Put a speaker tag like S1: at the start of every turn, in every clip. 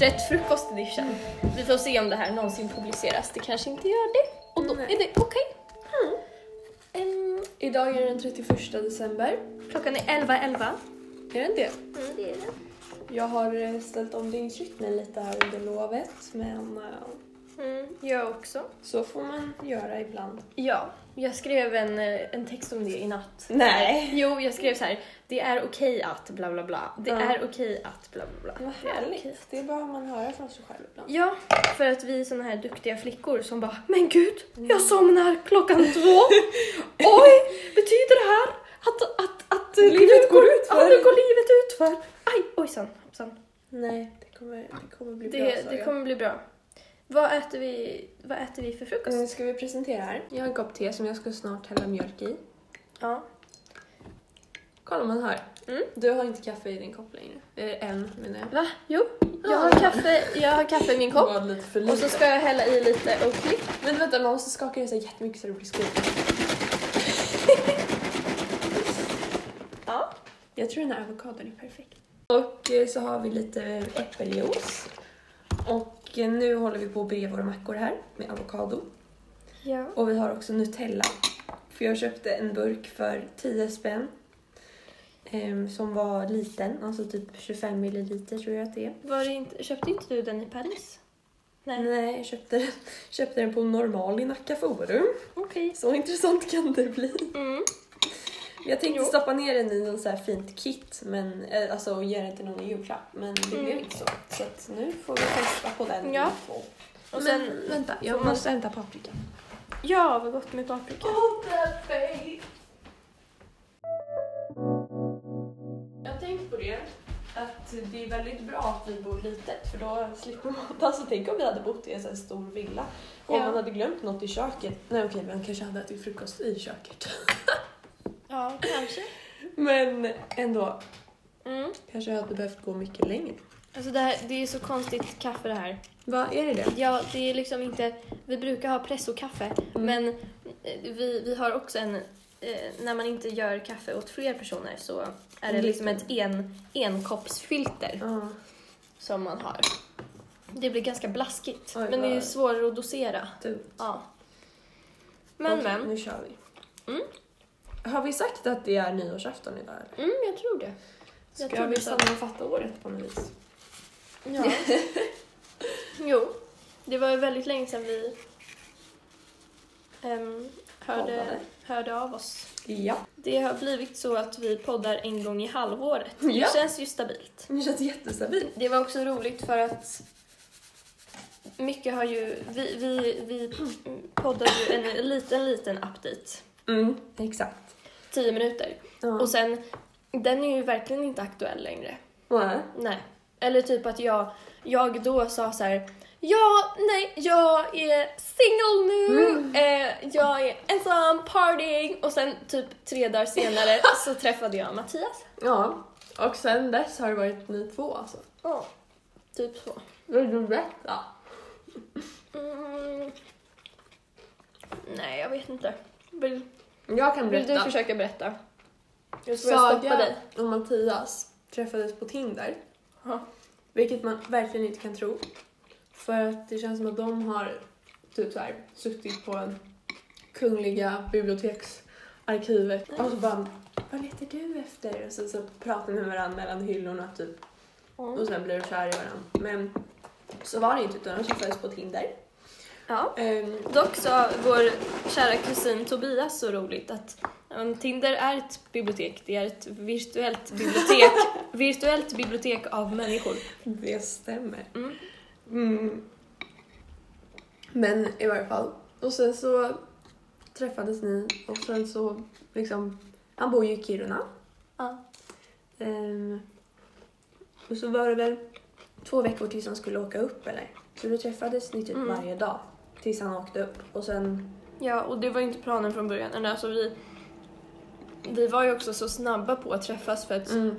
S1: Rätt frukost edition. eh, Vi får se om det här någonsin publiceras. Det kanske inte gör det. Och då
S2: Nej.
S1: är det okej.
S2: Ehm, idag är det den 31 december.
S1: Klockan är 11.11.
S2: Är det inte det?
S1: Mm, det är det.
S2: Jag har eh, ställt om dygnsrytmen lite här under lovet, men eh,
S1: Mm, jag också.
S2: så får man göra ibland.
S1: Ja, jag skrev en, eh, en text om det i natt.
S2: Nej.
S1: Jo, jag skrev så här. Det är okej att bla bla bla. Det
S2: Ja.
S1: är okej att bla bla bla.
S2: Vad
S1: Det är okej.
S2: härligt. Det behöver man höra från sig själv ibland.
S1: Ja, för att vi är såna här duktiga flickor som bara Men gud, jag somnar klockan två. Oj, betyder det här att, att, att
S2: eh, Livet går utför.
S1: Ja, nu går livet utför. Aj, ojsan, hoppsan.
S2: Nej, det kommer, det kommer bli bra.
S1: Det,
S2: sa
S1: det
S2: jag.
S1: kommer bli bra. Vad äter vi, vad äter vi för frukost?
S2: Nu Eh, ska vi presentera här. Jag har en kopp te som jag ska snart hälla mjölk i.
S1: Ja.
S2: Kolla om man hör.
S1: Mm.
S2: Du har inte kaffe i din kopp längre. Eh, än menar jag.
S1: Va? Jo, jag har kaffe, jag har kaffe i min
S2: Det
S1: kopp.
S2: var lite för
S1: Och så
S2: lite.
S1: ska jag hälla i lite Oakley.
S2: Men vänta, man måste skaka det så här jättemycket så det blir skumt.
S1: Ja.
S2: Jag tror den här avokadon är perfekt. Och eh, så har vi lite äppeljuice. Och eh, nu håller vi på att bre våra mackor här med avokado.
S1: ja.
S2: Och vi har också Nutella. För jag köpte en burk för 10 spänn. ehm, som var liten, alltså typ 25 milliliter tror jag att det är.
S1: Var det inte, köpte inte du den i Paris? Nej.
S2: Nej, jag köpte den, köpte den på normal i Nacka Forum.
S1: Okej.
S2: Så intressant kan det bli.
S1: Mm.
S2: Jag tänkte
S1: Jo.
S2: stoppa ner den i något så här fint kit men, eh, alltså, och ge den till någon i julklapp, men det
S1: Mm.
S2: blev inte så. Så att nu får vi testa på den.
S1: Ja.
S2: Och
S1: Och
S2: sen,
S1: sen-
S2: vänta, jag
S1: man-
S2: måste hämta paprika.
S1: Ja, vad gott med paprika.
S2: Jag har tänkt på det, att det är väldigt bra att vi bor litet för då slipper man... Alltså tänk om vi hade bott i en sån här stor villa och
S1: Ja.
S2: man hade glömt något i köket. Nej okej, man kanske hade ätit frukost i köket.
S1: Ja, kanske.
S2: Men ändå,
S1: Mm.
S2: kanske jag hade behövt gå mycket längre.
S1: Alltså det, här, det är så konstigt kaffe det här.
S2: Vad är det det?
S1: Ja, det är liksom inte... Vi brukar ha pressokaffe,
S2: Mm.
S1: men eh, vi, vi har också en... Eh, när man inte gör kaffe åt fler personer så är det
S2: En
S1: liksom ett
S2: liten.
S1: en, enkoppsfilter
S2: Ja.
S1: som man har. Det blir ganska blaskigt,
S2: Oj,
S1: men det är ju
S2: vad-
S1: svårare att dosera.
S2: Du.
S1: Ja. Men,
S2: Okej,
S1: men.
S2: Nu kör vi.
S1: Mm.
S2: Har vi sagt att det är nyårsafton idag eller?
S1: Mm, jag tror det. Jag
S2: Ska
S1: tror
S2: vi
S1: vi sa-
S2: sammanfatta året på något vis?
S1: Ja. jo, det var ju väldigt länge sedan vi ehm, hörde,
S2: Poddade.
S1: hörde av oss.
S2: Ja.
S1: Det har blivit så att vi poddar en gång i halvåret.
S2: Ja.
S1: Det känns ju stabilt.
S2: Det känns jättestabilt.
S1: Det var också roligt för att mycket har ju... Vi, vi, vi poddade ju en liten, liten update.
S2: Mm, exakt.
S1: Tio minuter.
S2: Ja.
S1: Och sen, den är ju verkligen inte aktuell längre.
S2: Nej.
S1: Nej. Eller typ att jag, jag då sa så här. Ja, nej, jag är singel nu, eh, jag är ensam, partying och sen typ tre dagar senare så träffade jag Mattias.
S2: Ja, och sen dess har det varit ni två alltså.
S1: Ja, typ så.
S2: Vill du berätta?
S1: Mm. Nej, jag vet inte. Vill,
S2: Jag kan
S1: vill
S2: berätta.
S1: du försöka berätta? Jag tror jag stoppar
S2: Saga
S1: dig.
S2: och Mattias träffades på Tinder.
S1: Ja.
S2: Vilket man verkligen inte kan tro. För att det känns som att de har typ så här, suttit på en Kungliga biblioteksarkivet och så bara Vad letar du efter? Och så, så pratar de med varandra mellan hyllorna typ och sen blir de kär i varandra. Men så var det inte utan de träffades på Tinder.
S1: Ja.
S2: Ehm,
S1: Dock sa vår kära kusin Tobias så roligt att um, Tinder är ett bibliotek. Det är ett virtuellt bibliotek, virtuellt bibliotek av människor.
S2: Det stämmer.
S1: Mm.
S2: Mm. Men i varje fall. Och sen så träffades ni och sen så liksom, han bor ju i Kiruna.
S1: Ja.
S2: Ehm, och så var det väl två veckor tills han skulle åka upp eller? Så då träffades ni typ
S1: Mm.
S2: varje dag tills han åkte upp och sen
S1: ja, och det var inte planen från början. Men Alltså, vi, vi var ju också så snabba på att träffas för att
S2: mm.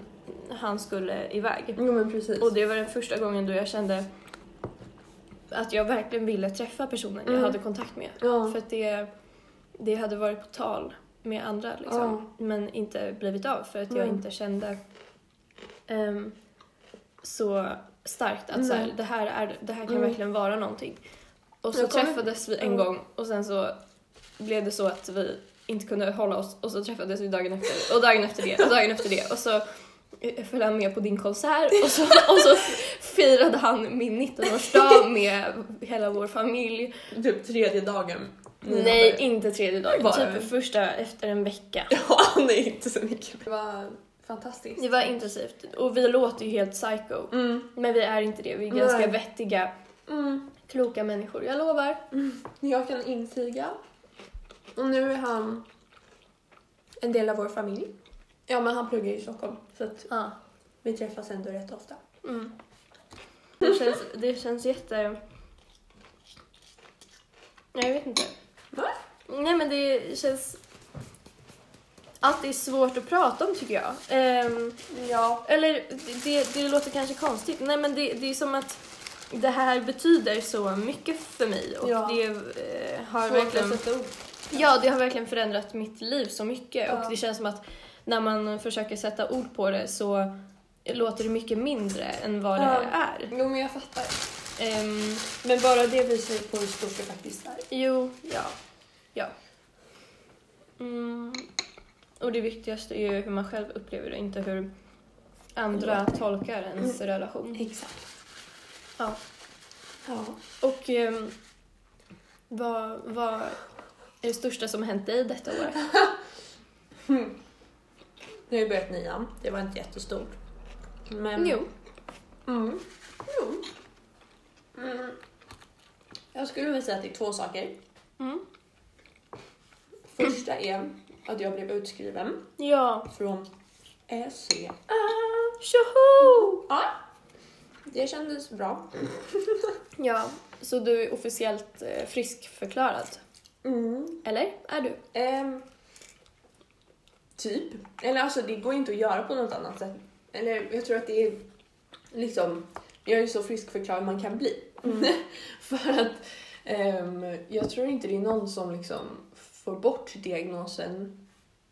S1: han skulle iväg.
S2: Jo men precis.
S1: Och det var den första gången då jag kände att jag verkligen ville träffa personen jag
S2: Mm.
S1: hade kontakt med.
S2: ja.
S1: För att det, det hade varit på tal med andra liksom, men inte blivit av för att jag
S2: Mm.
S1: inte kände. Ehm, så, starkt att så här,
S2: Nej.
S1: det, här är, det här kan
S2: Mm.
S1: verkligen vara någonting. Och så
S2: Jag kommer-
S1: träffades vi en
S2: Ja.
S1: gång och sen så blev det så att vi inte kunde hålla oss och så träffades vi dagen efter och dagen efter det och dagen efter det och så eh, följde han med på din konsert och så, och så firade han min 19-årsdag med hela vår familj.
S2: Typ tredje dagen. ni
S1: Nej,
S2: hade-
S1: inte tredje dagen.
S2: Var det?
S1: Typ första efter en vecka.
S2: Ja, nej inte så mycket. Det var fantastiskt.
S1: Det var intensivt och vi låter ju helt psycho.
S2: Mm.
S1: Men vi är inte det, vi är
S2: Nej.
S1: ganska vettiga,
S2: Mm.
S1: kloka människor, jag lovar.
S2: Jag kan intyga. Och nu är han en del av vår familj. Ja, men han pluggar ju i Stockholm så att
S1: Ja.
S2: vi träffas ändå rätt ofta.
S1: Mm. Det, känns, det känns jätte... Nej, jag vet inte.
S2: Va?
S1: Nej, men det känns... Att det är svårt att prata om tycker jag. Ehm,
S2: Ja.
S1: eller det, det, det låter kanske konstigt. Nej, men det, det är som att det här betyder så mycket för mig. Och
S2: Ja.
S1: det eh, har
S2: Har
S1: verkligen...
S2: verkligen sett ord.
S1: Ja, det har verkligen förändrat mitt liv så mycket
S2: Ja.
S1: och det känns som att när man försöker sätta ord på det så låter det mycket mindre än vad
S2: Ja.
S1: det är.
S2: Jo, men jag fattar.
S1: Ehm,
S2: Men bara det visar ju på hur stort det faktiskt är.
S1: jo, ja. ja. Mm. Och det viktigaste är ju hur man själv upplever det, inte hur andra tolkar ens
S2: Mm.
S1: relation.
S2: Exakt.
S1: Ja.
S2: Ja.
S1: Och ehm, vad, vad är det största som har hänt dig detta år?
S2: Nu har jag börjat nian. Det var inte jättestort. Men...
S1: Jo.
S2: Mm. Jo. Mm. Jag skulle vilja säga att det är två saker.
S1: Mm.
S2: Första är att jag blev utskriven
S1: Ja.
S2: från SCA.
S1: Tjoho!
S2: Ja. Det kändes bra.
S1: Ja, så du är officiellt eh, friskförklarad?
S2: Mm.
S1: Eller? Är du?
S2: Ehm, typ. Eller alltså det går inte att göra på något annat sätt. Eller jag tror att det är liksom, jag är ju så friskförklarad man kan bli. Mm. För att ehm, jag tror inte det är någon som liksom får bort diagnosen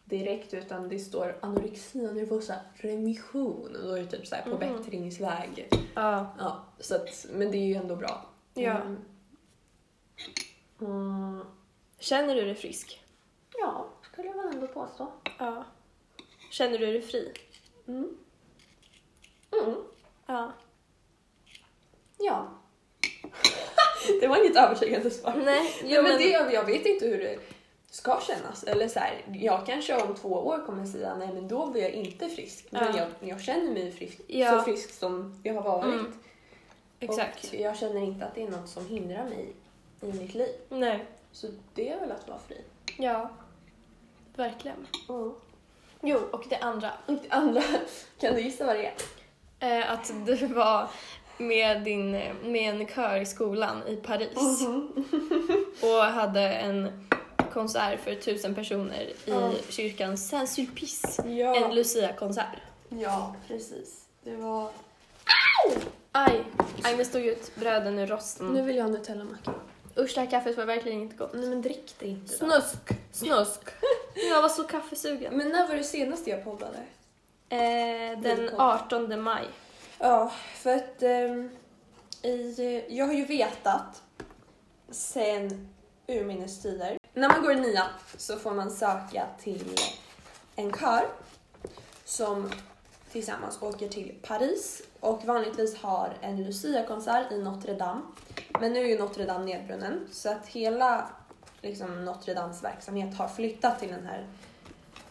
S2: direkt utan det står anorexia nervosa remission och då är det typ så här på
S1: Mhm.
S2: bättringsväg.
S1: Ja.
S2: Ja, så att, men det är ju ändå bra.
S1: Ja.
S2: Mm. Mm.
S1: Känner du dig frisk?
S2: Ja, skulle jag väl ändå påstå.
S1: Ja. Känner du dig fri?
S2: Mm. Mm.
S1: Ja.
S2: Ja. det var inget övertygande svar.
S1: Nej,
S2: Jo, men det, jag vet inte hur det ska kännas. Eller så här, jag kanske om två år kommer säga nej men då var jag inte frisk. Men
S1: Ja.
S2: jag, jag känner mig frisk,
S1: Ja.
S2: så frisk som jag har varit.
S1: Mm, Exakt.
S2: Och jag känner inte att det är något som hindrar mig i mitt liv.
S1: Nej.
S2: Så det är väl att vara fri.
S1: Ja. Verkligen. Jo, och det andra.
S2: Och det andra, kan du gissa vad det är?
S1: Eh, att du var med, din, eh, med en kör i skolan i Paris
S2: Mm.
S1: och hade en konsert för tusen personer i
S2: Ja.
S1: kyrkan Saint-Sulpice.
S2: Ja.
S1: En Lucia-konsert.
S2: ja, precis. Det var...
S1: Aj! Aj, nu stod ut bröden ur rosten.
S2: Nu vill jag ha Nutella-macka.
S1: Usch, det här kaffet var verkligen inte gott.
S2: Nej men drick det inte då.
S1: Snusk! Snusk! Jag var så kaffesugen.
S2: Men när var det senast jag poddade?
S1: Eh, den 18 maj.
S2: Ja, för att ehm, i, eh, jag har ju vetat sen urminnes tider. När man går i nian så får man söka till en kör som tillsammans åker till Paris och vanligtvis har en Lucia-konsert i Notre Dame. Men nu är ju Notre Dame nedbrunnen så att hela liksom, Notre Dames verksamhet har flyttat till den här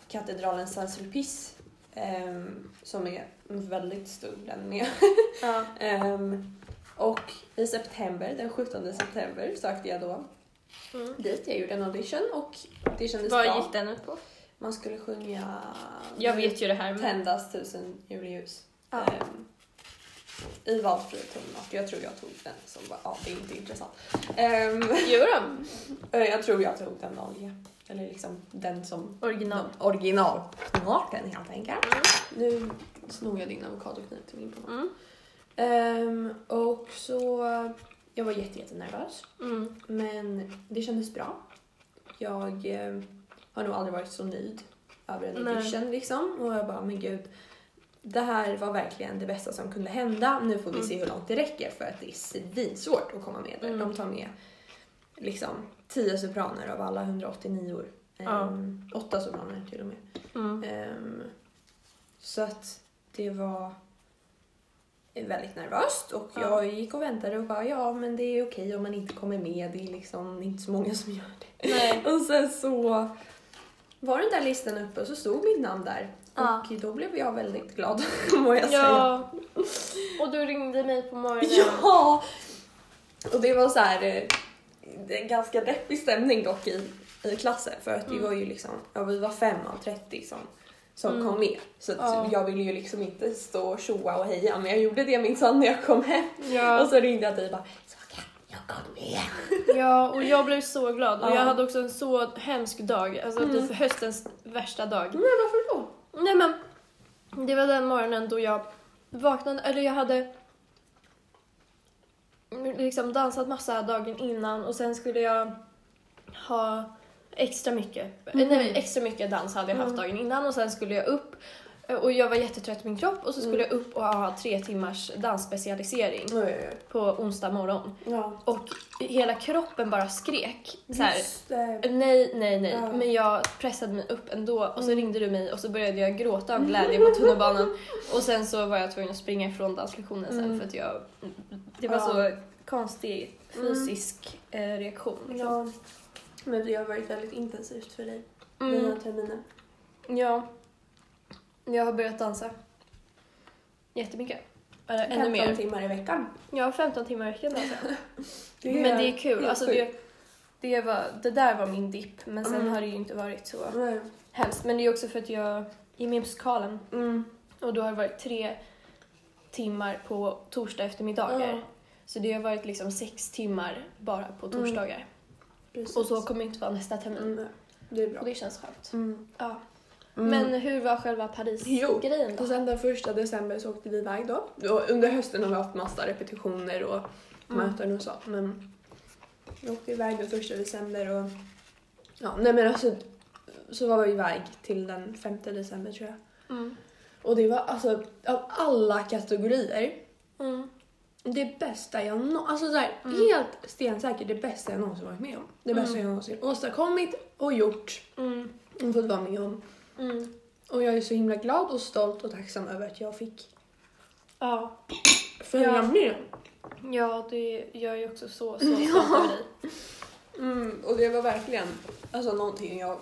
S2: katedralen Saint-Sulpice ehm, som är väldigt stor den med.
S1: Ja.
S2: Ehm, och i september, den 17 september, sökte jag då
S1: Mm.
S2: dit. Jag gjorde en audition och det kändes
S1: Vad
S2: bra.
S1: gick den ut på? Mm.
S2: Man skulle sjunga
S1: Jag vet ju det här men...
S2: Tändas tusen julljus.
S1: Ja.
S2: Ehm, I valfri ton och jag tror jag tog den som bara, ja det är inte intressant. Ehm,
S1: Gör de?
S2: eh, jag tror jag tog den vanliga. Eller liksom den som
S1: Original.
S2: original. Smaken helt enkelt. Nu snor jag din avokadokniv till min pommes.
S1: Mm.
S2: Ehm, och så... Jag var jätte, jättenervös,
S1: Mm.
S2: men det kändes bra. Jag ehm, eh, har nog aldrig varit så nöjd över en
S1: Nej.
S2: audition liksom. Och jag bara, men gud. det här var verkligen det bästa som kunde hända. Nu får vi
S1: Mm.
S2: se hur långt det räcker för att det är svinsvårt att komma med där.
S1: Mm.
S2: De tar med liksom 10 sopraner av alla 189 år.
S1: Ja.
S2: Ehm, åtta sopraner till och med.
S1: Mm.
S2: Ehm, så att det var väldigt nervöst och
S1: Ja.
S2: jag gick och väntade och bara ja men det är okej om man inte kommer med. Det är liksom inte så många som gör det.
S1: Nej.
S2: Och sen så var den där listan uppe och så stod mitt namn där.
S1: Ja.
S2: Och då blev jag väldigt glad, må jag säga.
S1: Ja. Och du ringde mig på morgonen.
S2: Ja! Och det var så här, eh, det är en ganska deppig stämning dock i, i klassen för att vi
S1: Mm.
S2: var ju liksom, ja vi var fem av 30 som, som
S1: Mm.
S2: kom med. Så att
S1: Ja.
S2: jag ville ju liksom inte stå och tjoa och heja men jag gjorde det minsann när jag kom hem.
S1: Ja.
S2: Och så ringde jag dig och bara Saga, jag kom med!
S1: ja, och jag blev så glad. Och
S2: Ja.
S1: jag hade också en så hemsk dag. Alltså
S2: Mm.
S1: typ höstens värsta dag.
S2: Men varför då?
S1: Nej men, det var den morgonen då jag vaknade, eller jag hade liksom dansat massa dagen innan och sen skulle jag ha extra mycket,
S2: Mm.
S1: nej extra mycket dans hade jag haft
S2: Mm.
S1: dagen innan och sen skulle jag upp och jag var jättetrött på min kropp och så skulle jag upp och ha tre timmars dansspecialisering
S2: Oj, oj, oj.
S1: på onsdag morgon.
S2: Ja.
S1: Och hela kroppen bara skrek. Så här,
S2: Just det.
S1: Nej, nej, nej.
S2: Ja.
S1: Men jag pressade mig upp ändå och så
S2: Mm.
S1: ringde du mig och så började jag gråta av glädje på tunnelbanan. Och sen så var jag tvungen att springa ifrån danslektionen sen
S2: Mm.
S1: för att jag... Det var
S2: Ja. Mm.
S1: så konstig fysisk eh, reaktion. Liksom.
S2: Ja. Men det har varit väldigt intensivt för dig
S1: Ja.
S2: den här
S1: Mm,
S2: terminen.
S1: ja. Jag har börjat dansa. Jättemycket. Eller ännu
S2: 15
S1: mer.
S2: timmar i veckan.
S1: Jag har 15 timmar i veckan dansar jag. Men det är kul.
S2: det är
S1: alltså, det, det, var, det där var min dipp men sen
S2: Mm.
S1: har det ju inte varit så
S2: Nej.
S1: hemskt. Men det är också för att jag är med i musikalen
S2: Mm.
S1: Och då har det varit tre timmar på torsdag eftermiddagar.
S2: Ja.
S1: Så det har varit liksom sex timmar bara på
S2: Mm.
S1: torsdagar.
S2: Precis.
S1: Och så kommer det inte vara nästa termin.
S2: Mm, det är
S1: Och
S2: bra.
S1: det känns skönt.
S2: Mm.
S1: Ja.
S2: Mm.
S1: Men hur var själva
S3: Jo.
S1: Paris-grejen då?
S3: eh, Och sen den första december så åkte vi iväg då. Och under hösten har vi haft massa repetitioner och
S1: Mm.
S3: möten och så. Men vi åkte iväg den första december och ja, nej men alltså så var vi iväg till den femte december tror jag.
S1: Mm.
S3: Och det var alltså av alla kategorier
S1: Mm.
S3: det bästa jag någonsin, alltså så här,
S1: Mm.
S3: helt stensäkert det bästa jag någonsin varit med om. Det bästa
S1: Mm.
S3: jag någonsin åstadkommit och gjort
S1: Mm.
S3: och fått vara med om.
S1: Mm.
S3: Och jag är så himla glad och stolt och tacksam över att jag fick
S1: Ja.
S3: följa
S1: Ja.
S3: med.
S1: ja, det jag är ju också så, så stolt över dig.
S3: Mm, och det var verkligen alltså, någonting jag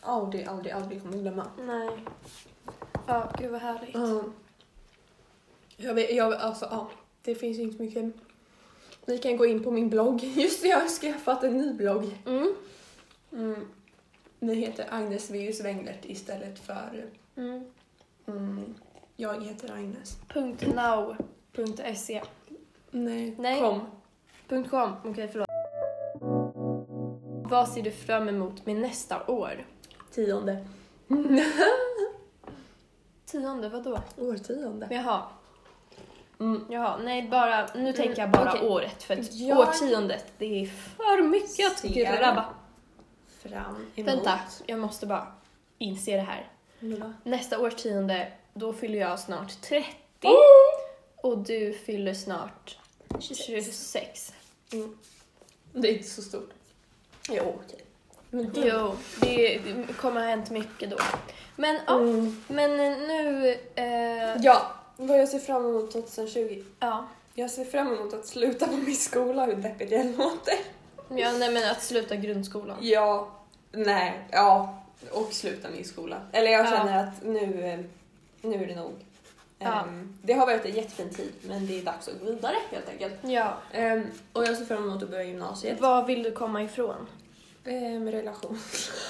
S3: aldrig, aldrig, aldrig kommer glömma.
S1: Nej. Ja, gud vad härligt.
S3: Mm. Jag vet, jag, alltså, ja, det finns inte mycket. Ni kan gå in på min blogg. Just det, jag har skaffat en ny blogg.
S1: Mm.
S3: Mm. Den heter Agnes Vius Wenglert istället för
S1: Mm.
S3: mm, jag heter Agnes.
S1: Punkt now. Punkt se.
S3: Nej,
S1: Nej.
S3: kom.
S1: Punkt com. Okej, förlåt. Vad ser du fram emot med nästa år?
S3: Tionde.
S1: Tionde, vadå?
S3: Årtionde.
S1: Jaha,
S3: Mm.
S1: jaha. Nej, bara, nu tänker jag bara
S3: okej.
S1: året. För att
S3: Jag-
S1: årtiondet, det är för mycket att
S2: Ser-
S1: grabba.
S2: Fram emot.
S1: Vänta, jag måste bara inse det här. Nästa årtionde, då fyller jag snart 30. Och du fyller snart 26.
S3: Det är inte så stort.
S2: Jo, okej.
S3: Men det-
S1: Jo, det, det kommer ha hänt mycket då. Men ja,
S3: Mm.
S1: men nu... Eh,
S3: Ja,
S2: Vad jag ser fram emot 2020?
S1: ja.
S2: Jag ser fram emot att sluta på min skola, hur deppigt det låter.
S1: Ja, nej men att sluta grundskolan.
S2: Ja, nej, ja. Och sluta min skola. Eller jag
S1: Ja.
S2: känner att nu, eh, nu är det nog.
S1: Ja.
S2: Ehm, Det har varit en jättefin tid, men det är dags att gå vidare helt enkelt.
S1: Ja.
S2: Ehm, och jag ser fram emot att börja gymnasiet.
S1: Vad vill du komma ifrån?
S2: Ehm, relation.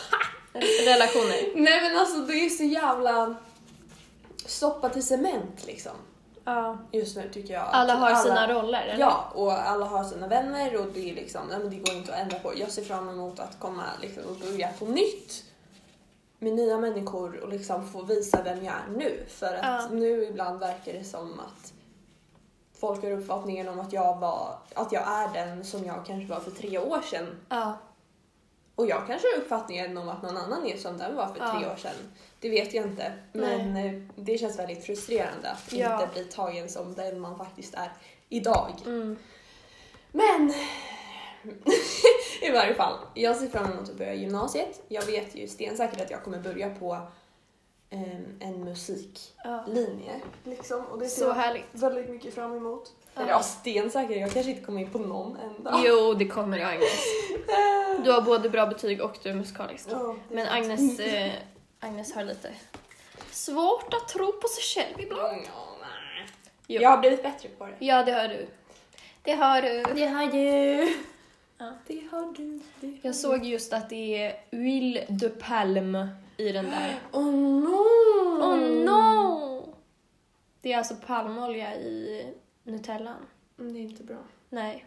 S1: Relationer.
S2: Nej men alltså det är så jävla stoppat i cement liksom.
S1: Ja.
S2: Just nu tycker jag. att
S1: Alla har sina roller, eller?
S2: Ja, och alla har sina vänner och det är liksom, nej, men det går inte att ändra på. Jag ser fram emot att komma liksom, och börja på nytt med nya människor och liksom få visa vem jag är nu. För att
S1: Ja.
S2: nu ibland verkar det som att folk har uppfattningen om att jag, var, att jag är den som jag kanske var för tre år sedan.
S1: Ja.
S2: Och jag kanske har uppfattningen om att någon annan är som den var för
S1: Ja.
S2: tre år sedan. Det vet jag inte. Men eh, det känns väldigt frustrerande att
S1: Ja.
S2: inte bli tagen som den man faktiskt är idag.
S1: Mm.
S2: Men i varje fall, jag ser fram emot att börja gymnasiet. Jag vet ju stensäkert att jag kommer börja på ehm, en musiklinje.
S1: Ja.
S2: Liksom, och det ser
S1: Så
S2: jag
S1: härligt.
S2: väldigt mycket fram emot.
S1: Ja.
S2: Eller ja, stensäker. Jag kanske inte kommer in på någon enda.
S1: Jo, det kommer Agnes. Du har både bra betyg och du är musikalisk.
S2: Ja, det-
S1: Men Agnes, eh, Agnes har lite svårt att tro på sig själv ibland.
S2: Mm, Ja, nej.
S1: Jo.
S2: Jag har blivit bättre på det.
S1: Ja, det har du. Det har du.
S2: Det har du.
S1: Ja.
S2: Det har du. Det har
S1: Jag såg just att det är Will de Palm i den där.
S2: Oh no!
S1: Oh no! Det är alltså palmolja i Nutellan.
S2: Mm, Det är inte bra.
S1: Nej.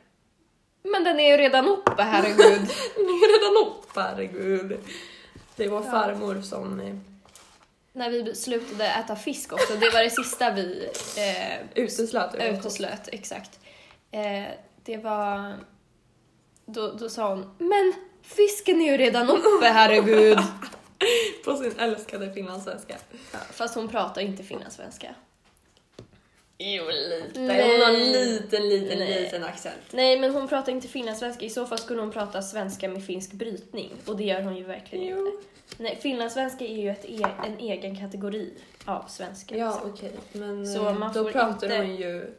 S1: Men den är ju redan uppe, herregud.
S2: Det är redan upp, herregud. Det var
S1: Ja.
S2: farmor som eh,
S1: När vi slutade äta fisk också, det var det sista vi eh,
S2: uteslöt ur en kopp.
S1: uteslöt. Exakt. Eh, det var... Då, då sa hon “Men fisken är ju redan uppe, herregud!”
S2: På sin älskade finlandssvenska.
S1: Fast hon pratar inte finlandssvenska.
S2: Jo, lite.
S1: Nej.
S2: Hon har en liten, liten,
S1: Nej.
S2: liten accent.
S1: Nej, men hon pratar inte finlandssvenska. I så fall skulle hon prata svenska med finsk brytning. Och det gör hon ju verkligen inte. Nej, finlandssvenska är ju ett e- en egen kategori av svenska.
S2: Ja,
S1: liksom.
S2: okej. Men
S1: Så
S2: eh,
S1: man
S2: då
S1: får
S2: pratar
S1: inte-
S2: hon ju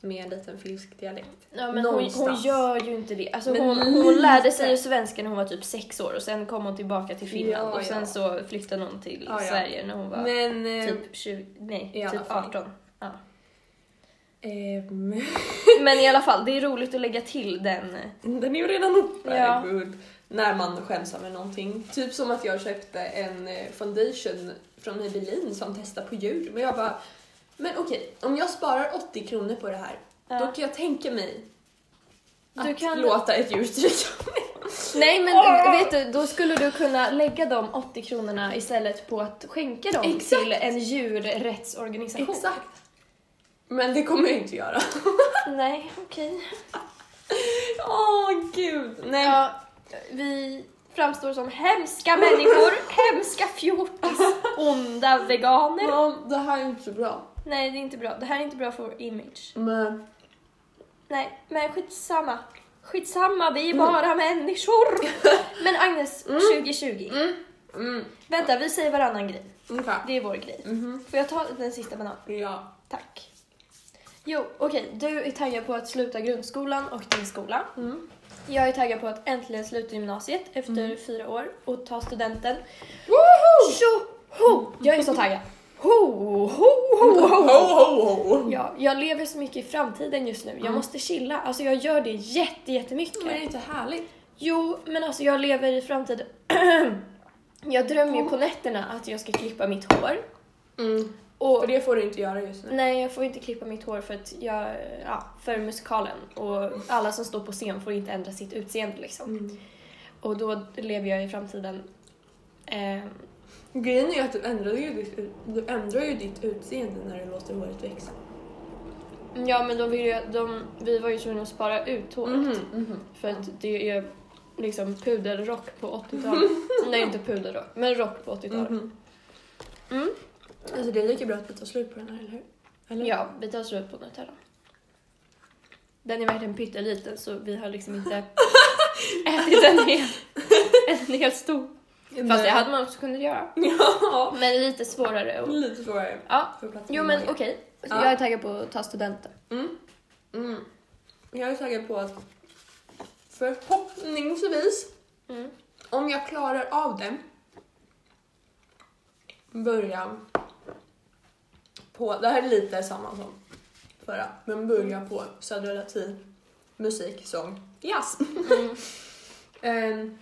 S2: med en liten finsk dialekt.
S1: ja men hon, hon
S2: någonstans.
S1: gör ju inte det. Alltså,
S2: Men
S1: hon, hon lärde
S2: lite.
S1: sig ju svenska när hon var typ sex år och sen kom hon tillbaka till Finland
S2: Ja,
S1: och sen
S2: ja.
S1: så flyttade hon till
S2: Ja, ja.
S1: Sverige när hon var
S2: Men... eh,
S1: typ 20,
S2: i
S1: nej,
S2: alla
S1: typ
S2: fall.
S1: 18.
S2: ehm,
S1: Men i alla fall, det är roligt att lägga till den. eh,
S2: Den är ju redan uppe,
S1: Ja.
S2: herregud. När man skäms över någonting. Typ som att jag köpte en eh, foundation från Maybelline som testar på djur. Men jag bara, men okej, om jag sparar 80 kronor på det här, då kan jag tänka mig att
S1: Du kan-
S2: låta ett djur stryka mig.
S1: Nej men
S2: Åh!
S1: vet du, då skulle du kunna lägga de 80 kronorna istället på att skänka dem
S2: Exakt.
S1: till en djurrättsorganisation.
S2: Exakt. Men det kommer jag inte göra.
S1: Nej, okej.
S2: Åh gud! Nej.
S1: Ja, vi framstår som hemska människor, hemska fjortis, onda veganer.
S2: Ja, det här är inte så bra.
S1: Nej, det är inte bra. Det här är inte bra för vår image.
S2: Men
S1: Nej, men skitsamma. Skitsamma, vi är bara människor. Men Agnes, 2020.
S2: mm,
S1: Vänta, vi säger varannan grej.
S2: ungefär.
S1: Det är vår grej.
S2: Mhm.
S1: Får jag ta den sista bananen?
S2: Ja.
S1: Tack. Jo, okej. Du är taggad på att sluta grundskolan och din skola.
S2: Mm.
S1: Jag är taggad på att äntligen sluta gymnasiet efter fyra år och ta studenten. Tjoho! Jag är så taggad. Ho, ho, ho, ho.
S2: ho, ho.
S1: Ja, jag lever så mycket i framtiden just nu. Jag
S2: Mm.
S1: måste chilla. Alltså jag gör det jätte, jättemycket.
S2: Men det är inte härligt?
S1: Jo, men alltså jag lever i framtiden. jag drömmer ju på nätterna att jag ska klippa mitt hår. Och
S2: För det får du inte göra just nu.
S1: Mm. Nej, jag får inte klippa mitt hår för att jag, ja, för musikalen. Och alla som står på scen får inte ändra sitt utseende liksom.
S2: Mm.
S1: Och då lever jag i framtiden. Eh,
S2: Grejen är ju att du ändrar ju, ditt, du ändrar ju ditt utseende när du låter håret växa.
S1: ja, men de vill ju, de, vi var ju tvungna att spara ut håret.
S2: Mhm.
S1: För att det är liksom pudelrock på 80-talet. Nej, inte pudelrock, men rock på 80-talet.
S2: Mhm.
S1: Mm.
S2: Mm-hmm. Alltså det är lika bra att vi tar slut på den här, eller hur? Eller?
S1: Ja, vi tar slut på Nutella. Den är verkligen pytteliten så vi har liksom inte ätit en hel, en hel stor. Fast det hade man också kunnat göra.
S2: Ja,
S1: Men lite svårare. Och...
S2: lite svårare.
S1: Ja.
S2: Får plats
S1: Jo
S2: med
S1: men
S2: magen.
S1: okej,
S2: Ja.
S1: jag är taggad på att ta studenten.
S2: Mm. Mm. Jag är taggad på att förhoppningsvis,
S1: Mm.
S2: om jag klarar av det, börja på, det här är lite samma som förra, men börja på Södra Latin, musik, sång, jazz.
S1: Mm.
S2: Ehm,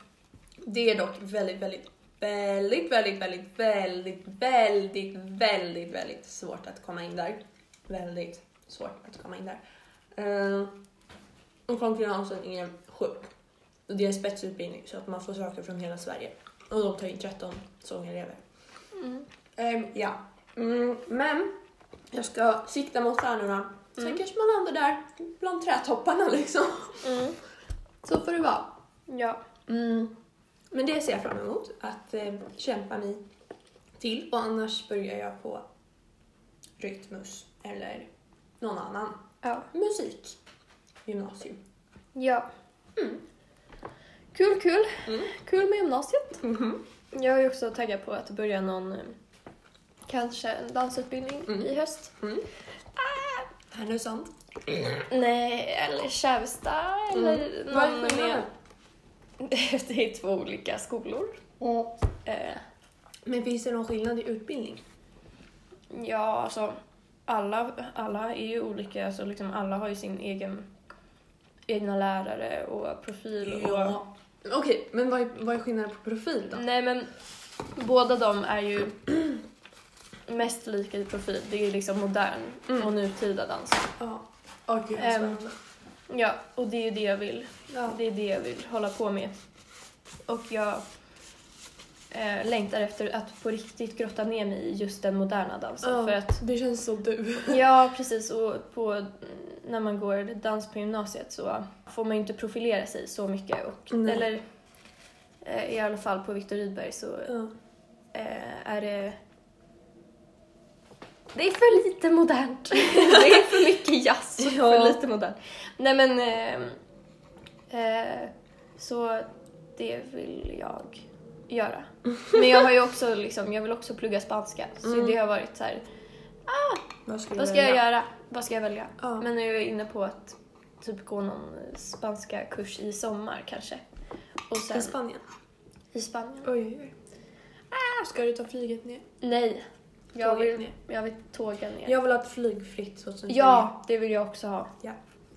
S2: det är dock väldigt, väldigt, väldigt, väldigt, väldigt, väldigt, väldigt, väldigt, väldigt svårt att komma in där. Väldigt svårt att komma in där. Ehm, och konkurrensen är sjuk. Och Det är spetsutbildning så att man får söka från hela Sverige. Och de tar in 13 sångelever.
S1: Mm.
S2: Ehm, ja. Mm, men jag ska sikta mot stjärnorna. Sen kanske man landar där bland trädtopparna liksom.
S1: Mm.
S2: Så får det vara.
S1: Ja.
S2: Mm.
S4: Men det ser jag fram emot att eh, kämpa mig till och annars börjar jag på Rytmus eller någon annan
S1: Ja.
S4: musik gymnasium.
S1: ja. Kul, kul.
S4: Mm.
S1: Kul med gymnasiet. Jag är också taggad på att börja någon, eh, kanske en dansutbildning
S4: Mm. Ah!
S1: i höst.
S4: Härnösand.
S1: Nej, eller Kävsta
S2: Mm.
S4: Mm.
S1: eller
S2: Vad är
S1: någon
S2: skillnaden?
S1: med... Det är två olika skolor. Eh,
S4: Men finns det någon skillnad i utbildning?
S1: Ja, alltså alla, alla är ju olika, alltså, liksom, alla har ju sin egen egna lärare och profil. Och,
S2: Okej, men vad är, vad är skillnaden på profil då?
S1: Nej men båda de är ju mest lika i profil. Det är ju liksom modern
S2: Mm.
S1: och nutida dans.
S4: Ja.
S2: Åh gud vad
S1: Ehm,
S2: spännande.
S1: Ja, och det är ju det jag vill.
S4: ja.
S1: Alltså, Det är det jag vill hålla på med. Och jag eh, längtar efter att på riktigt grotta ner mig i just den moderna dansen.
S2: Ja.
S1: För att
S2: Det känns som du.
S1: Ja, precis. Och på, när man går dans på gymnasiet så får man ju inte profilera sig så mycket. Och,
S2: Nej.
S1: eller eh, i alla fall på Viktor Rydberg så
S2: Ja.
S1: eh, är det... Det är för lite modernt. det är för mycket jazz och
S2: Ja.
S1: för lite modernt. Nej men... Eh, eh, så det vill jag göra. Men jag har ju också liksom, jag vill också plugga spanska. Så
S2: Mm.
S1: det har varit så här,
S4: Vad skulle,
S1: vad
S4: du
S1: ska jag
S4: välja?
S1: göra? Vad ska jag välja?
S2: Ja.
S1: Men nu är jag inne på att typ gå någon spanska kurs i sommar kanske. Och sen
S4: I Spanien.
S1: i Spanien.
S2: Oj, oj, oj. Ah, ska du ta flyget ner?
S1: Nej. Jag
S2: Tåget
S1: vill,
S2: ner.
S1: jag vill tåga ner.
S4: Jag vill ha ett flygfritt 2020.
S1: Ja, det vill jag också ha.
S4: Ja.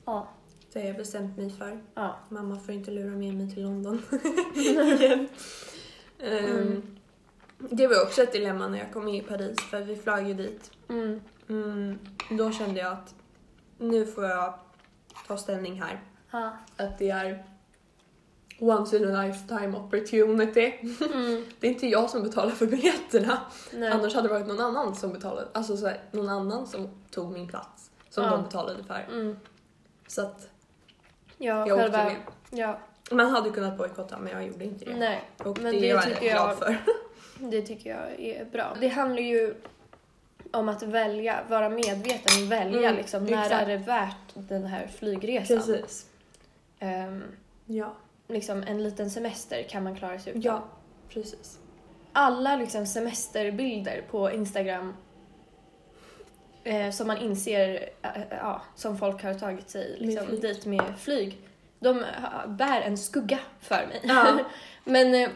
S1: Ja.
S4: Det har jag bestämt mig för.
S1: Ja.
S4: Mamma får inte lura med mig till London. Ehm,
S1: Mm.
S4: Det var också ett dilemma när jag kom in i Paris för vi flög ju dit.
S1: Mm.
S4: Mm, då kände jag att nu får jag ta ställning här.
S1: Ja.
S2: Att det är once in a lifetime opportunity.
S1: Mm.
S2: Det är inte jag som betalar för biljetterna.
S1: Nej.
S2: Annars hade det varit någon annan som betalade. Alltså så här, någon annan som tog min plats. Som
S1: Ja.
S2: de betalade för.
S1: Mm.
S2: Så att
S1: Ja,
S2: jag åkte
S1: själva...
S2: med.
S1: Ja.
S4: Man hade kunnat bojkotta men jag gjorde inte det.
S1: Nej,
S4: Och
S1: men
S4: det,
S1: det
S4: är jag
S1: tycker
S4: väldigt glad
S1: jag-
S4: för.
S1: det tycker jag är bra. Det handlar ju om att välja, vara medveten, välja
S2: Mm,
S1: liksom när
S2: exakt.
S1: är det värt den här flygresan.
S2: Precis.
S1: Ehm,
S4: Ja,
S1: liksom en liten semester kan man klara sig utan.
S4: ja precis.
S1: alla liksom semesterbilder på Instagram eh, som man inser eh, eh, ja, som folk har tagit sig liksom,
S2: flyg.
S1: dit med flyg. De eh, bär en skugga för mig.
S4: Ja.
S1: Men eh,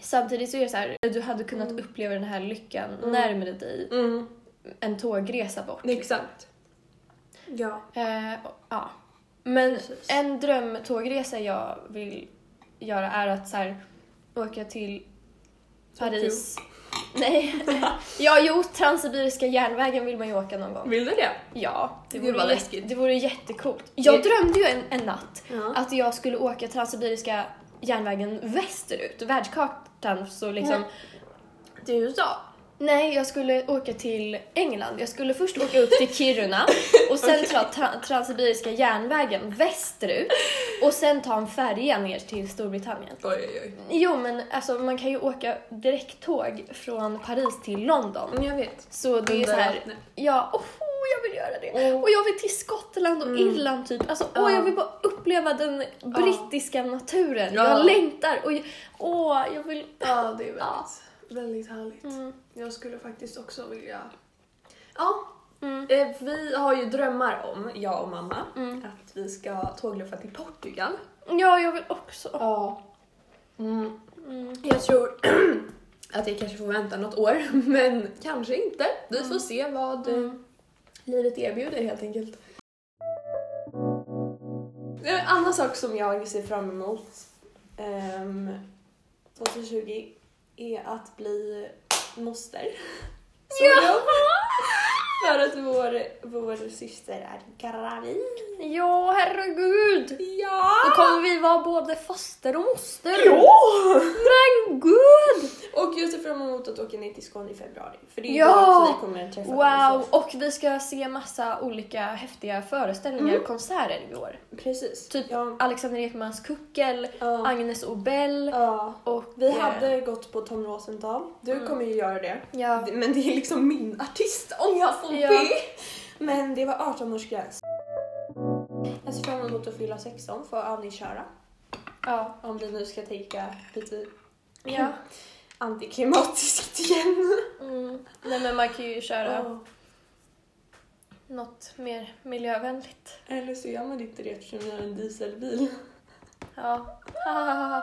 S1: samtidigt så är det så här, du hade kunnat uppleva den här lyckan
S4: Mm.
S1: närmare dig
S4: Mm,
S1: en tågresa bort.
S4: exakt. Ja,
S1: Eh, och- ja. Men
S4: Precis.
S1: en drömtågresa jag vill göra är att så här, åka till Paris. Nej. ja, jo, Transsibiriska järnvägen vill man ju åka någon gång.
S2: Vill du det?
S1: Ja, det
S4: Gud,
S1: vore,
S4: vad
S1: jät-
S4: läskigt.
S1: det vore jättecoolt. Jag
S4: Det-
S1: drömde ju en, en natt
S4: Ja.
S1: att jag skulle åka Transsibiriska järnvägen västerut, världskartan, så liksom
S4: Mm. till USA.
S1: Nej, jag skulle åka till England. Jag skulle först åka upp till Kiruna och sen ta tra- Transsibiriska järnvägen västerut och sen ta en färja ner till Storbritannien.
S2: Oj, oj, oj.
S1: Jo, men alltså man kan ju åka direkttåg från Paris till London.
S4: Mm, Jag vet.
S1: Så det är så
S4: Under
S1: här,
S4: vattnet.
S1: ja, oh, jag vill göra det.
S2: Åh.
S1: Och jag vill till Skottland och
S4: Mm.
S1: Irland typ. Alltså,
S2: Oh. Ja.
S1: åh, jag vill bara uppleva den brittiska naturen.
S2: Ja.
S1: Jag längtar och jag, åh, jag vill...
S2: Ja, det är väldigt,
S1: Ja.
S2: väldigt härligt.
S1: Mm,
S2: Jag skulle faktiskt också vilja... Ja,
S1: mm,
S4: Eh, Vi har ju drömmar om, jag och mamma,
S1: mm.
S4: att vi ska tågluffa till Portugal.
S1: Ja, jag vill också.
S2: ja. Mm.
S1: Mm.
S2: Jag tror att jag kanske får vänta något år, men kanske inte. Vi får se vad eh,
S1: Mm.
S2: livet erbjuder helt enkelt. En annan sak som jag ser fram emot ehm, 2020 är att bli moster.
S1: Ja!
S2: För att vår, vår syster är gravid.
S1: ja, herregud!
S2: Ja!
S1: Då kommer vi vara både faster och moster.
S2: Ja!
S1: Men gud!
S2: Och jag ser fram emot att åka ner till Skåne i februari. För det är
S1: Ja!
S2: då också vi kommer träffa
S1: Wow! Och vi ska se massa olika häftiga föreställningar
S2: Mm.
S1: och konserter i år.
S2: människor. Precis.
S1: Typ
S2: Ja.
S1: Alexander Ekmans Kuckel,
S2: Ja.
S1: Agnes Obel
S2: ja.
S1: och...
S2: Vi
S1: eh,
S2: hade gått på Tom Rosenthal. Du
S1: Mm.
S2: kommer ju göra det.
S1: Ja.
S2: Men det är liksom min artist om jag får
S1: Ja.
S2: be. Men det var 18-årsgräns. Jag ser fram emot att fylla 16 för att övningsköra.
S1: Ja.
S2: Om vi nu ska tänka lite
S1: ja.
S2: antiklimatiskt igen.
S1: Mm. Nej men man kan ju köra
S2: Ja.
S1: något mer miljövänligt.
S2: Eller så gör man inte det eftersom vi har en dieselbil.
S1: Ja. Ha, ha, ha,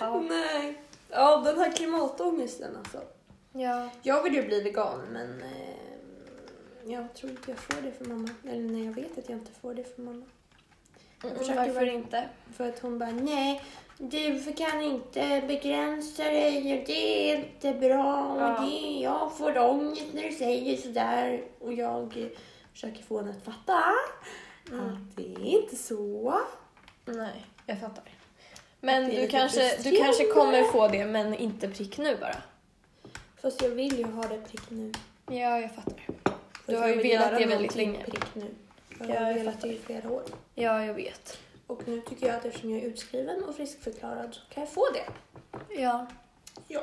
S1: ha, ha.
S2: Nej. Ja, den här klimatångesten alltså.
S1: Ja.
S2: Jag vill ju bli vegan men eh, jag tror inte jag får det för mamma. Eller nej, jag vet att jag inte får det för mamma.
S1: Mm,
S2: försöker
S1: varför
S2: väl-
S1: inte?
S2: För att hon bara, nej, du kan inte begränsa dig och det är inte bra och
S1: Ja.
S2: det, jag får ångest när du säger sådär. Och jag eh, försöker få henne att fatta
S1: Mm.
S2: att det är inte så.
S1: Nej, jag fattar. Men
S2: Det är
S1: du
S2: lite
S1: kanske, du
S2: frustrerande.
S1: kanske kommer få det, men inte prick nu bara.
S2: Fast jag vill ju ha det prick nu.
S1: Ja, jag fattar.
S2: Fast
S1: Du har
S2: jag
S1: ju
S2: vill
S1: velat
S2: göra
S1: det väldigt
S2: någonting
S1: länge.
S2: Prick nu.
S1: Ja,
S2: Jag har
S1: jag
S2: velat det i flera år.
S1: Ja, jag vet.
S2: Och nu tycker jag att eftersom jag är utskriven och friskförklarad så kan jag få det.
S1: Ja.
S2: Ja.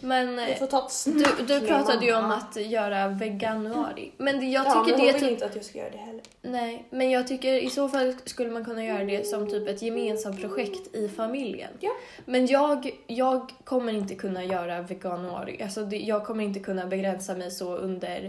S1: Men
S2: Vi
S1: eh,
S2: får ta ett snack
S1: du, du
S2: med
S1: pratade ju om
S2: mamma.
S1: att göra veganuari. Men det- jag
S2: ja,
S1: tycker
S2: men
S1: det
S2: hon
S1: är
S2: vill
S1: typ...
S2: inte att jag ska göra det heller.
S1: Nej, men jag tycker i så fall skulle man kunna göra det som typ ett gemensamt projekt i familjen.
S2: Ja.
S1: Men jag, jag kommer inte kunna göra veganuari. Alltså det, jag kommer inte kunna begränsa mig så under eh,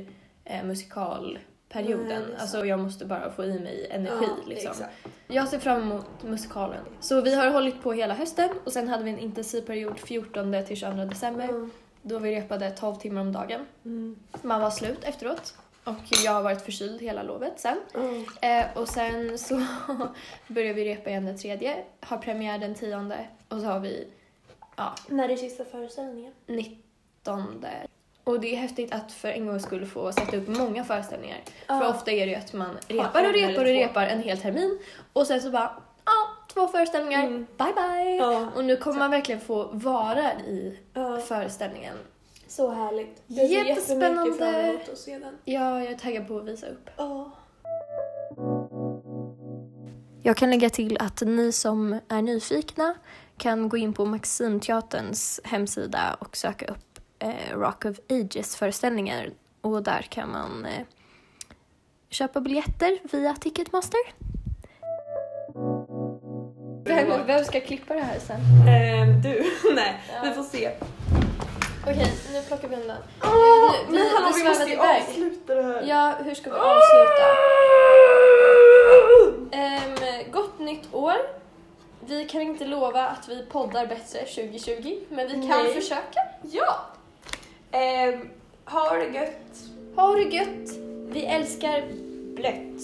S2: Nej, det är
S1: musikalperioden.
S2: sant.
S1: alltså jag måste bara få i mig energi liksom.
S2: exakt.
S1: Jag ser fram emot musikalen. Så vi har hållit på hela hösten och sen hade vi en intensiv period 14 till 22 december
S2: Mm.
S1: då vi repade 12 timmar om dagen.
S2: Mm.
S1: Man var slut efteråt och jag har varit förkyld hela lovet sen.
S2: Mm.
S1: Eh, och sen så börjar vi repa igen den tredje, har premiär den tionde och så har vi ja,
S2: När är sista föreställningen?
S1: nittonde. Och det är häftigt att för en gång skulle få sätta upp många föreställningar. För
S2: Ja.
S1: ofta är det ju att man
S2: en
S1: repar och
S2: eller
S1: repar och
S2: två.
S1: repar en hel termin och sen så bara, ja, två föreställningar,
S2: Mm.
S1: bye bye.
S2: Ja.
S1: Och nu kommer man verkligen få vara i
S2: Ja.
S1: föreställningen.
S2: Så härligt.
S1: Jag ser jättemycket
S2: Jättespännande.
S1: fram
S2: fram
S1: emot
S2: emot att se den.
S1: Ja, jag är taggad på att visa upp.
S2: Ja.
S1: Jag kan lägga till att ni som är nyfikna kan gå in på Maximteaterns hemsida och söka upp eh, Rock of Ages-föreställningar och där kan man eh, köpa biljetter via Ticketmaster. Vem, vem ska klippa det här sen?
S2: Ehm, du, nej.
S1: Ja.
S2: Vi får se.
S1: Okej, nu plockar vi undan.
S2: Oh,
S1: vi- vi- vi svävade iväg.
S2: avsluta det här.
S1: Ja, hur ska vi avsluta? Ehm, gott nytt år. Vi kan inte lova att vi poddar bättre 2020, men vi kan
S2: Nej.
S1: försöka.
S2: Ja! Ehm, ha det gött.
S1: Ha det gött! Vi älskar blött.